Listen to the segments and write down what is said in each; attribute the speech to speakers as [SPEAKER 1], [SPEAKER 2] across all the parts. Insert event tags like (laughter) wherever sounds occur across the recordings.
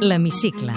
[SPEAKER 1] L'Hemicicle.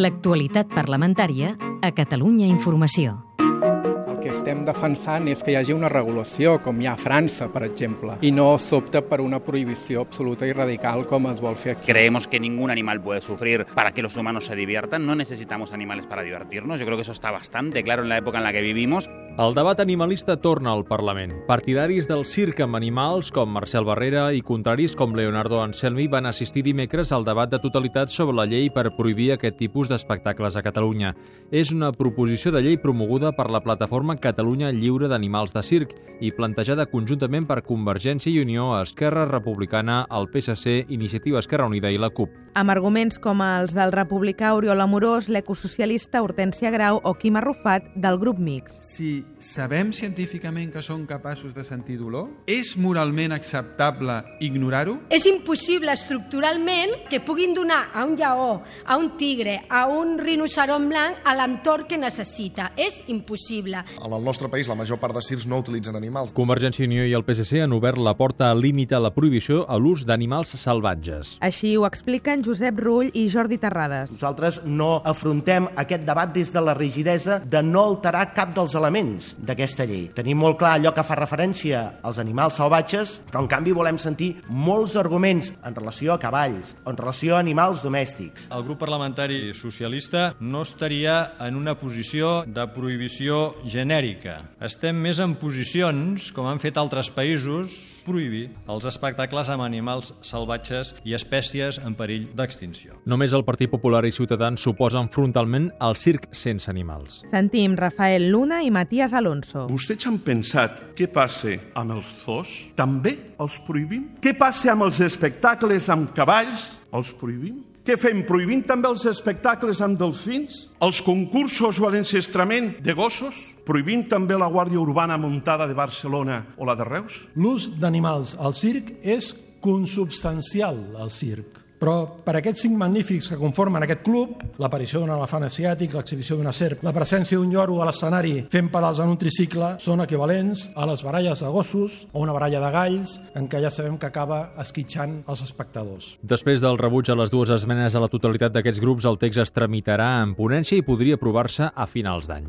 [SPEAKER 1] L'actualitat parlamentària a Catalunya Informació.
[SPEAKER 2] El que estem defensant és que hi hagi una regulació, com hi ha a França, per exemple, i no s'opta per una prohibició absoluta i radical com es vol fer aquí.
[SPEAKER 3] Creemos que ningún animal puede sufrir para que los humanos se diviertan. No necesitamos animales para divertirnos. Yo creo que eso está bastante claro en la época en la que vivimos.
[SPEAKER 4] El debat animalista torna al Parlament. Partidaris del circ amb animals com Marcel Barrera i contraris com Leonardo Anselmi van assistir dimecres al debat de totalitat sobre la llei per prohibir aquest tipus d'espectacles a Catalunya. És una proposició de llei promoguda per la plataforma Catalunya Lliure d'Animals de Circ i plantejada conjuntament per Convergència i Unió, Esquerra Republicana, el PSC, Iniciativa Esquerra Unida i la CUP.
[SPEAKER 5] Amb arguments com els del republicà Oriol Amorós, l'ecosocialista Hortència Grau o Quim Arrufat del grup Mix.
[SPEAKER 6] Si sabem científicament que són capaços de sentir dolor, és moralment acceptable ignorar-ho?
[SPEAKER 7] És impossible estructuralment que puguin donar a un lleó, a un tigre, a un rinoceront blanc a l'entorn que necessita. És impossible.
[SPEAKER 8] En el nostre país, la major part de circs no utilitzen animals.
[SPEAKER 4] Convergència i Unió i el PSC han obert la porta a limitar la prohibició a l'ús d'animals salvatges.
[SPEAKER 5] Així ho expliquen Josep Rull i Jordi Terrades.
[SPEAKER 9] Nosaltres no afrontem aquest debat des de la rigidesa de no alterar cap dels elements d'aquesta llei. Tenim molt clar allò que fa referència als animals salvatges, però en canvi volem sentir molts arguments en relació a cavalls, en relació a animals domèstics.
[SPEAKER 10] El grup parlamentari socialista no estaria en una posició de prohibició genèrica. Estem més en posicions, com han fet altres països, prohibir els espectacles amb animals salvatges i espècies en perill d'extinció.
[SPEAKER 4] Només el Partit Popular i Ciutadans s'oposen frontalment al circ sense animals.
[SPEAKER 5] Sentim Rafael Luna i Matías Alonso.
[SPEAKER 11] Vostès han pensat què passa amb els zoos? També els prohibim? Què passa amb els espectacles amb cavalls? Els prohibim? Què fem? Prohibint també els espectacles amb delfins? Els concursos o l'encestrament de gossos? Prohibint també la Guàrdia Urbana muntada de Barcelona o la de Reus?
[SPEAKER 12] L'ús d'animals al circ és consubstancial al circ. Però per aquests cinc magnífics que conformen aquest club, l'aparició d'un elefant asiàtic, l'exhibició d'una serp, la presència d'un lloro a l'escenari fent pedals en un tricicle són equivalents a les baralles de gossos o una baralla de galls en què ja sabem que acaba esquitxant els espectadors.
[SPEAKER 4] Després del rebuig a les dues esmenes a la totalitat d'aquests grups, el text es tramitarà en ponència i podria aprovar-se a finals d'any.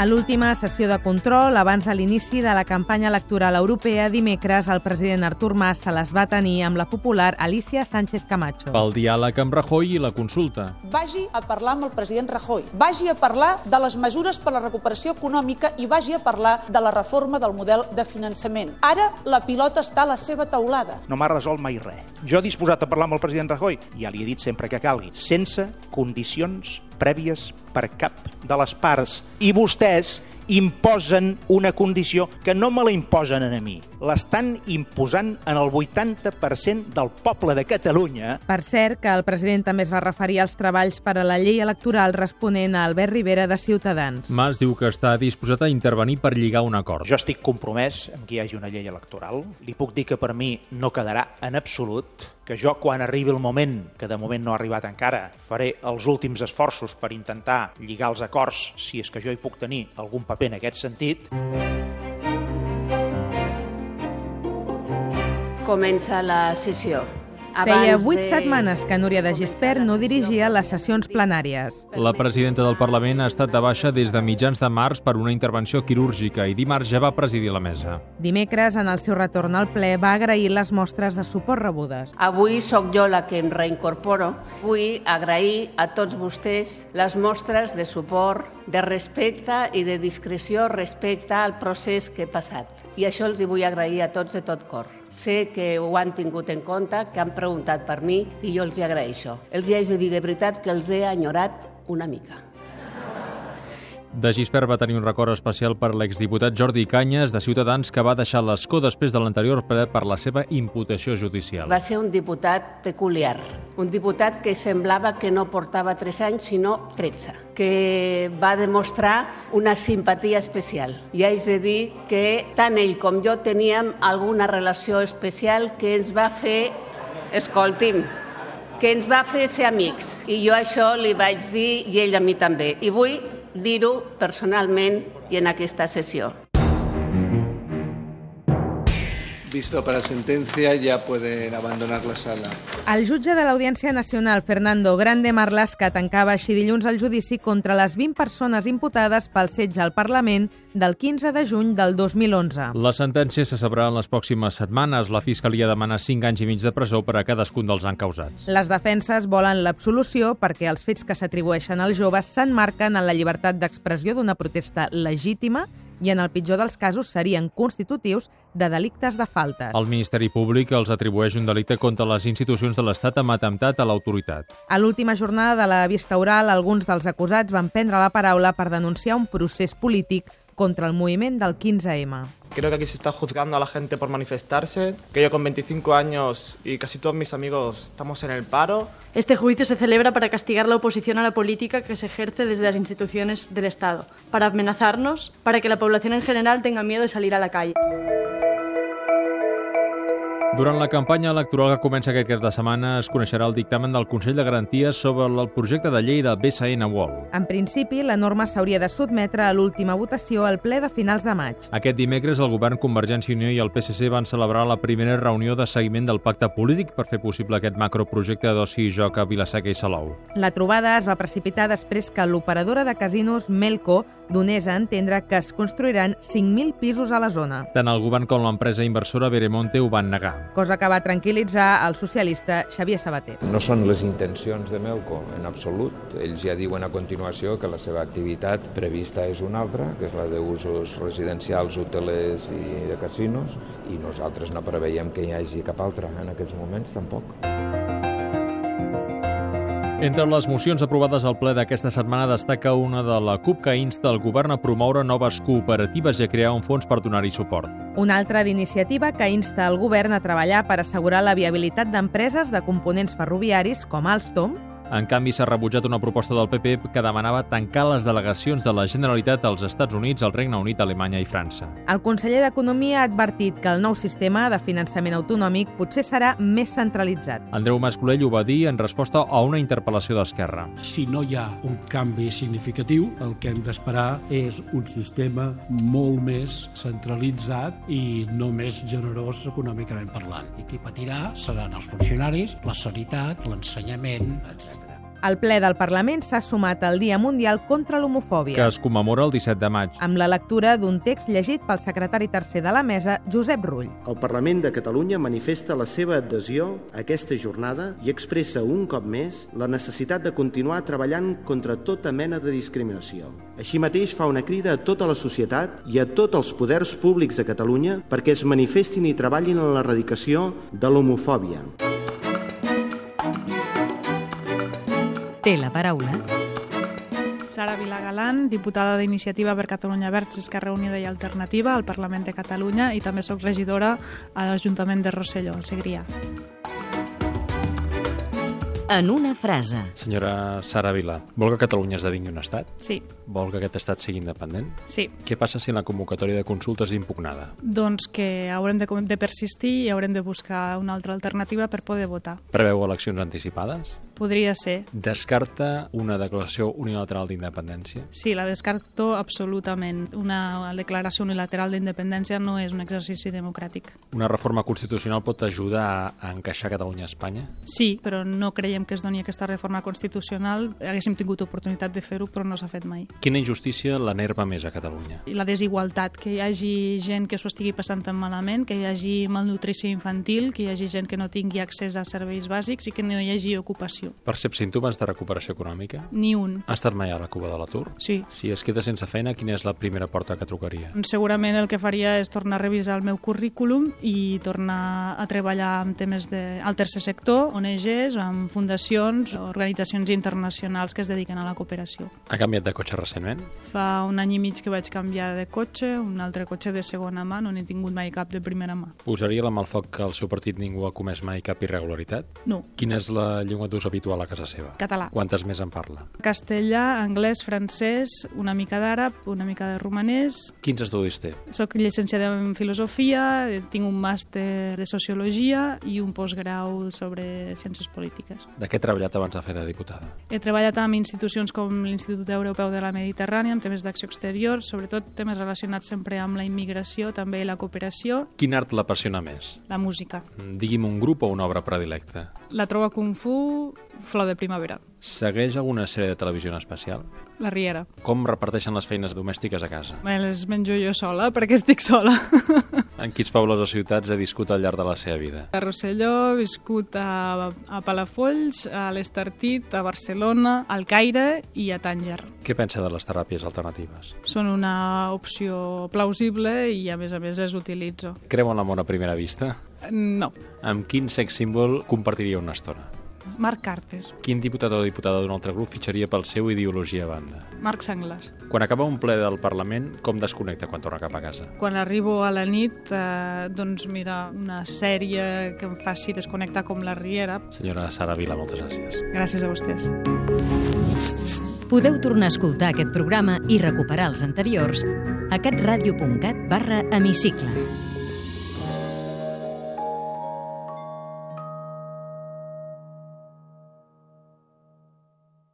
[SPEAKER 5] A l'última sessió de control, abans de l'inici de la campanya electoral europea, dimecres el president Artur Mas se les va tenir amb la popular Alicia Sánchez Camacho.
[SPEAKER 4] Pel diàleg amb Rajoy i la consulta.
[SPEAKER 13] Vagi a parlar amb el president Rajoy. Vagi a parlar de les mesures per la recuperació econòmica i vagi a parlar de la reforma del model de finançament. Ara la pilota està a la seva taulada.
[SPEAKER 14] No m'ha resolt mai res. Jo he disposat a parlar amb el president Rajoy, ja li he dit sempre que calgui, sense condicions prèvies per cap de les parts. I vostès imposen una condició que no me la imposen a mi. L'estan imposant en el 80% del poble de Catalunya.
[SPEAKER 5] Per cert, que el president també es va referir als treballs per a la llei electoral responent a Albert Rivera de Ciutadans.
[SPEAKER 4] Mas diu que està disposat a intervenir per lligar un acord.
[SPEAKER 14] Jo estic compromès amb que hi hagi una llei electoral. Li puc dir que per mi no quedarà en absolut que jo, quan arribi el moment, que de moment no ha arribat encara, faré els últims esforços per intentar lligar els acords, si és que jo hi puc tenir algun paper en aquest sentit.
[SPEAKER 15] Comença la sessió.
[SPEAKER 5] Abans Feia vuit de... setmanes que Núria de Gispert no dirigia les sessions plenàries.
[SPEAKER 4] La presidenta del Parlament ha estat de baixa des de mitjans de març per una intervenció quirúrgica i dimarts ja va presidir la mesa.
[SPEAKER 5] Dimecres, en el seu retorn al ple, va agrair les mostres de suport rebudes.
[SPEAKER 15] Avui sóc jo la que em reincorporo. Vull agrair a tots vostès les mostres de suport, de respecte i de discreció respecte al procés que he passat i això els hi vull agrair a tots de tot cor. Sé que ho han tingut en compte, que han preguntat per mi i jo els hi agraeixo. Els hi haig de dir de veritat que els he enyorat una mica.
[SPEAKER 4] De Gispert va tenir un record especial per l'exdiputat Jordi Canyes de Ciutadans que va deixar l'escó després de l'anterior ple per la seva imputació judicial.
[SPEAKER 15] Va ser un diputat peculiar, un diputat que semblava que no portava 3 anys sinó 13 que va demostrar una simpatia especial. I haig de dir que tant ell com jo teníem alguna relació especial que ens va fer... Escolti'm, que ens va fer ser amics. I jo això li vaig dir i ell a mi també. I vull dir-ho personalment i en aquesta sessió.
[SPEAKER 16] Visto para sentencia, ya pueden abandonar la sala.
[SPEAKER 5] El jutge de l'Audiència Nacional, Fernando Grande Marlaska, tancava així dilluns el judici contra les 20 persones imputades pel setge al Parlament del 15 de juny del 2011.
[SPEAKER 4] La sentència se sabrà en les pròximes setmanes. La Fiscalia demana 5 anys i mig de presó per a cadascun dels encausats.
[SPEAKER 5] Les defenses volen l'absolució perquè els fets que s'atribueixen als joves s'enmarquen en la llibertat d'expressió d'una protesta legítima i en el pitjor dels casos serien constitutius de delictes de faltes.
[SPEAKER 4] El Ministeri Públic els atribueix un delicte contra les institucions de l'Estat amb atemptat a l'autoritat.
[SPEAKER 5] A l'última jornada de la vista oral, alguns dels acusats van prendre la paraula per denunciar un procés polític contra el moviment del 15M.
[SPEAKER 17] Creo que aquí se está juzgando a la gente por manifestarse, que yo con 25 años y casi todos mis amigos estamos en el paro.
[SPEAKER 18] Este juicio se celebra para castigar la oposición a la política que se ejerce desde las instituciones del Estado, para amenazarnos, para que la población en general tenga miedo de salir a la calle.
[SPEAKER 4] Durant la campanya electoral que comença aquest cap de setmana es coneixerà el dictamen del Consell de Garanties sobre el projecte de llei de BSN Wall.
[SPEAKER 5] En principi, la norma s'hauria de sotmetre a l'última votació al ple de finals de maig.
[SPEAKER 4] Aquest dimecres el govern Convergència i Unió i el PSC van celebrar la primera reunió de seguiment del pacte polític per fer possible aquest macroprojecte d'oci i joc a Vilaseca i Salou.
[SPEAKER 5] La trobada es va precipitar després que l'operadora de casinos Melco donés a entendre que es construiran 5.000 pisos a la zona,
[SPEAKER 4] Tant el govern com l'empresa inversora Veremonte ho van negar.
[SPEAKER 5] cosa que va tranquil·litzar el socialista Xavier Sabater.
[SPEAKER 19] No són les intencions de Melco, en absolut. Ells ja diuen a continuació que la seva activitat prevista és una altra, que és la d'usos residencials, hotelers i de casinos, i nosaltres no preveiem que hi hagi cap altra en aquests moments, tampoc.
[SPEAKER 4] Entre les mocions aprovades al ple d'aquesta setmana destaca una de la CUP que insta el govern a promoure noves cooperatives i a crear un fons per donar-hi suport.
[SPEAKER 5] Una altra d'iniciativa que insta el govern a treballar per assegurar la viabilitat d'empreses de components ferroviaris com Alstom
[SPEAKER 4] En canvi, s'ha rebutjat una proposta del PP que demanava tancar les delegacions de la Generalitat als Estats Units, al Regne Unit, Alemanya i França.
[SPEAKER 5] El conseller d'Economia ha advertit que el nou sistema de finançament autonòmic potser serà més centralitzat.
[SPEAKER 4] Andreu Mascolell ho va dir en resposta a una interpel·lació d'Esquerra.
[SPEAKER 20] Si no hi ha un canvi significatiu, el que hem d'esperar és un sistema molt més centralitzat i no més generós econòmicament parlant. I qui patirà seran els funcionaris, la sanitat, l'ensenyament, etc.
[SPEAKER 5] El ple del Parlament s'ha sumat al Dia Mundial contra
[SPEAKER 4] que
[SPEAKER 5] l'Homofòbia,
[SPEAKER 4] es commemora el 17 de maig.
[SPEAKER 5] amb la lectura d'un text llegit pel secretari tercer de la mesa, Josep Rull.
[SPEAKER 9] El Parlament de Catalunya manifesta la seva adhesió a aquesta jornada i expressa un cop més la necessitat de continuar treballant contra tota mena de discriminació. Així mateix fa una crida a tota la societat i a tots els poders públics de Catalunya perquè es manifestin i treballin en l'erradicació de l'homofòbia.
[SPEAKER 1] Té la paraula
[SPEAKER 21] Sara Vilagalán, diputada d'Iniciativa per Catalunya Verds, Esquerra Unida i Alternativa al Parlament de Catalunya i també sóc regidora a l'Ajuntament de Rosselló, al Segrià.
[SPEAKER 1] en una frase.
[SPEAKER 22] Senyora Sara Vila, vol que Catalunya esdevingui un estat?
[SPEAKER 21] Sí,
[SPEAKER 22] Vol que aquest estat sigui independent?
[SPEAKER 21] sí.
[SPEAKER 22] Què passa si la convocatòria de consultes és impugnada?
[SPEAKER 21] Doncs que haurem de, com- de persistir i haurem de buscar una altra alternativa per poder votar.
[SPEAKER 22] Preveu eleccions anticipades?
[SPEAKER 21] Podria ser.
[SPEAKER 22] Descarta una declaració unilateral d'independència?
[SPEAKER 21] Sí, la descarto absolutament. Una declaració unilateral d'independència no és un exercici democràtic.
[SPEAKER 22] Una reforma constitucional pot ajudar a encaixar Catalunya a Espanya?
[SPEAKER 21] Sí, però no creiem que es doni aquesta reforma constitucional. Haguéssim tingut oportunitat de fer-ho, però no s'ha fet mai.
[SPEAKER 22] Quina injustícia l'enerva més a Catalunya?
[SPEAKER 21] i la desigualtat, que hi hagi gent que s'ho estigui passant tan malament, que hi hagi malnutrició infantil, que hi hagi gent que no tingui accés a serveis bàsics i que no hi hagi ocupació.
[SPEAKER 22] Percep símptomes de recuperació econòmica?
[SPEAKER 21] Ni un.
[SPEAKER 22] Ha estat mai a la Cuba de l'atur?
[SPEAKER 21] Sí.
[SPEAKER 22] Si es queda sense feina, quina és la primera porta que trucaria?
[SPEAKER 21] Doncs Segurament el que faria és tornar a revisar el meu currículum i tornar a treballar amb temes del tercer sector, ONGs, amb fundacions, organitzacions internacionals que es dediquen a la cooperació.
[SPEAKER 22] Ha canviat de cotxe recentment?
[SPEAKER 21] Fa un any i mig que vaig canviar de cotxe, un altre cotxe de segona mà, no n'he tingut mai cap de primera mà.
[SPEAKER 22] Posaria la mà al foc que al seu partit ningú ha comès mai cap irregularitat?
[SPEAKER 21] No.
[SPEAKER 22] Quina és la llengua d'ús habitual a casa seva?
[SPEAKER 21] Català.
[SPEAKER 22] Quantes més en parla?
[SPEAKER 21] Castellà, anglès, francès, una mica d'àrab, una mica de romanès.
[SPEAKER 22] Quins estudis té?
[SPEAKER 21] Soc llicenciada en filosofia, eh, tinc un màster de sociologia i un postgrau sobre ciències polítiques.
[SPEAKER 4] De què ha treballat abans de fer de diputada?
[SPEAKER 14] He treballat amb institucions com l'Institut Europeu de la Mediterrània, amb temes d'acció exterior, sobretot temes relacionats sempre amb la immigració, també la cooperació,
[SPEAKER 4] Quin art l'apassiona més? Mm,
[SPEAKER 14] la música.
[SPEAKER 4] Digui'm un grup o una obra predilecta.
[SPEAKER 14] La troba Kung Fu, Flor de Primavera,
[SPEAKER 4] Segueix alguna sèrie de televisió en especial?
[SPEAKER 14] La Riera.
[SPEAKER 4] Com reparteixen les feines domèstiques a casa?
[SPEAKER 14] Me les menjo jo sola, perquè estic sola. (laughs)
[SPEAKER 4] En quins pobles o ciutats ha viscut al llarg de la seva vida?
[SPEAKER 14] A Rosselló, viscut a, a Palafolls, a l'Estartit, a Barcelona, al Caire i a Tànger.
[SPEAKER 4] Què pensa de les teràpies alternatives?
[SPEAKER 14] Són una opció plausible i, a més a més, les utilitzo.
[SPEAKER 4] Creu en l'amor a primera vista?
[SPEAKER 14] No.
[SPEAKER 4] Amb quin sex símbol compartiria una estona?
[SPEAKER 14] Marc Cartes,
[SPEAKER 4] Quin diputat o diputada d'un altre grup fitxaria pel seu ideologia a banda?
[SPEAKER 14] Marc Sangles.
[SPEAKER 4] Quan acaba un ple del Parlament, com desconnecta quan torna cap a casa?
[SPEAKER 14] Quan arribo a la nit, eh, doncs mira, una sèrie que em faci desconnectar com la Riera.
[SPEAKER 4] Senyora Sara Vila, moltes gràcies.
[SPEAKER 14] Gràcies a vostès.
[SPEAKER 1] Podeu tornar a escoltar aquest programa i recuperar els anteriors a catradio.cat barra hemicicle.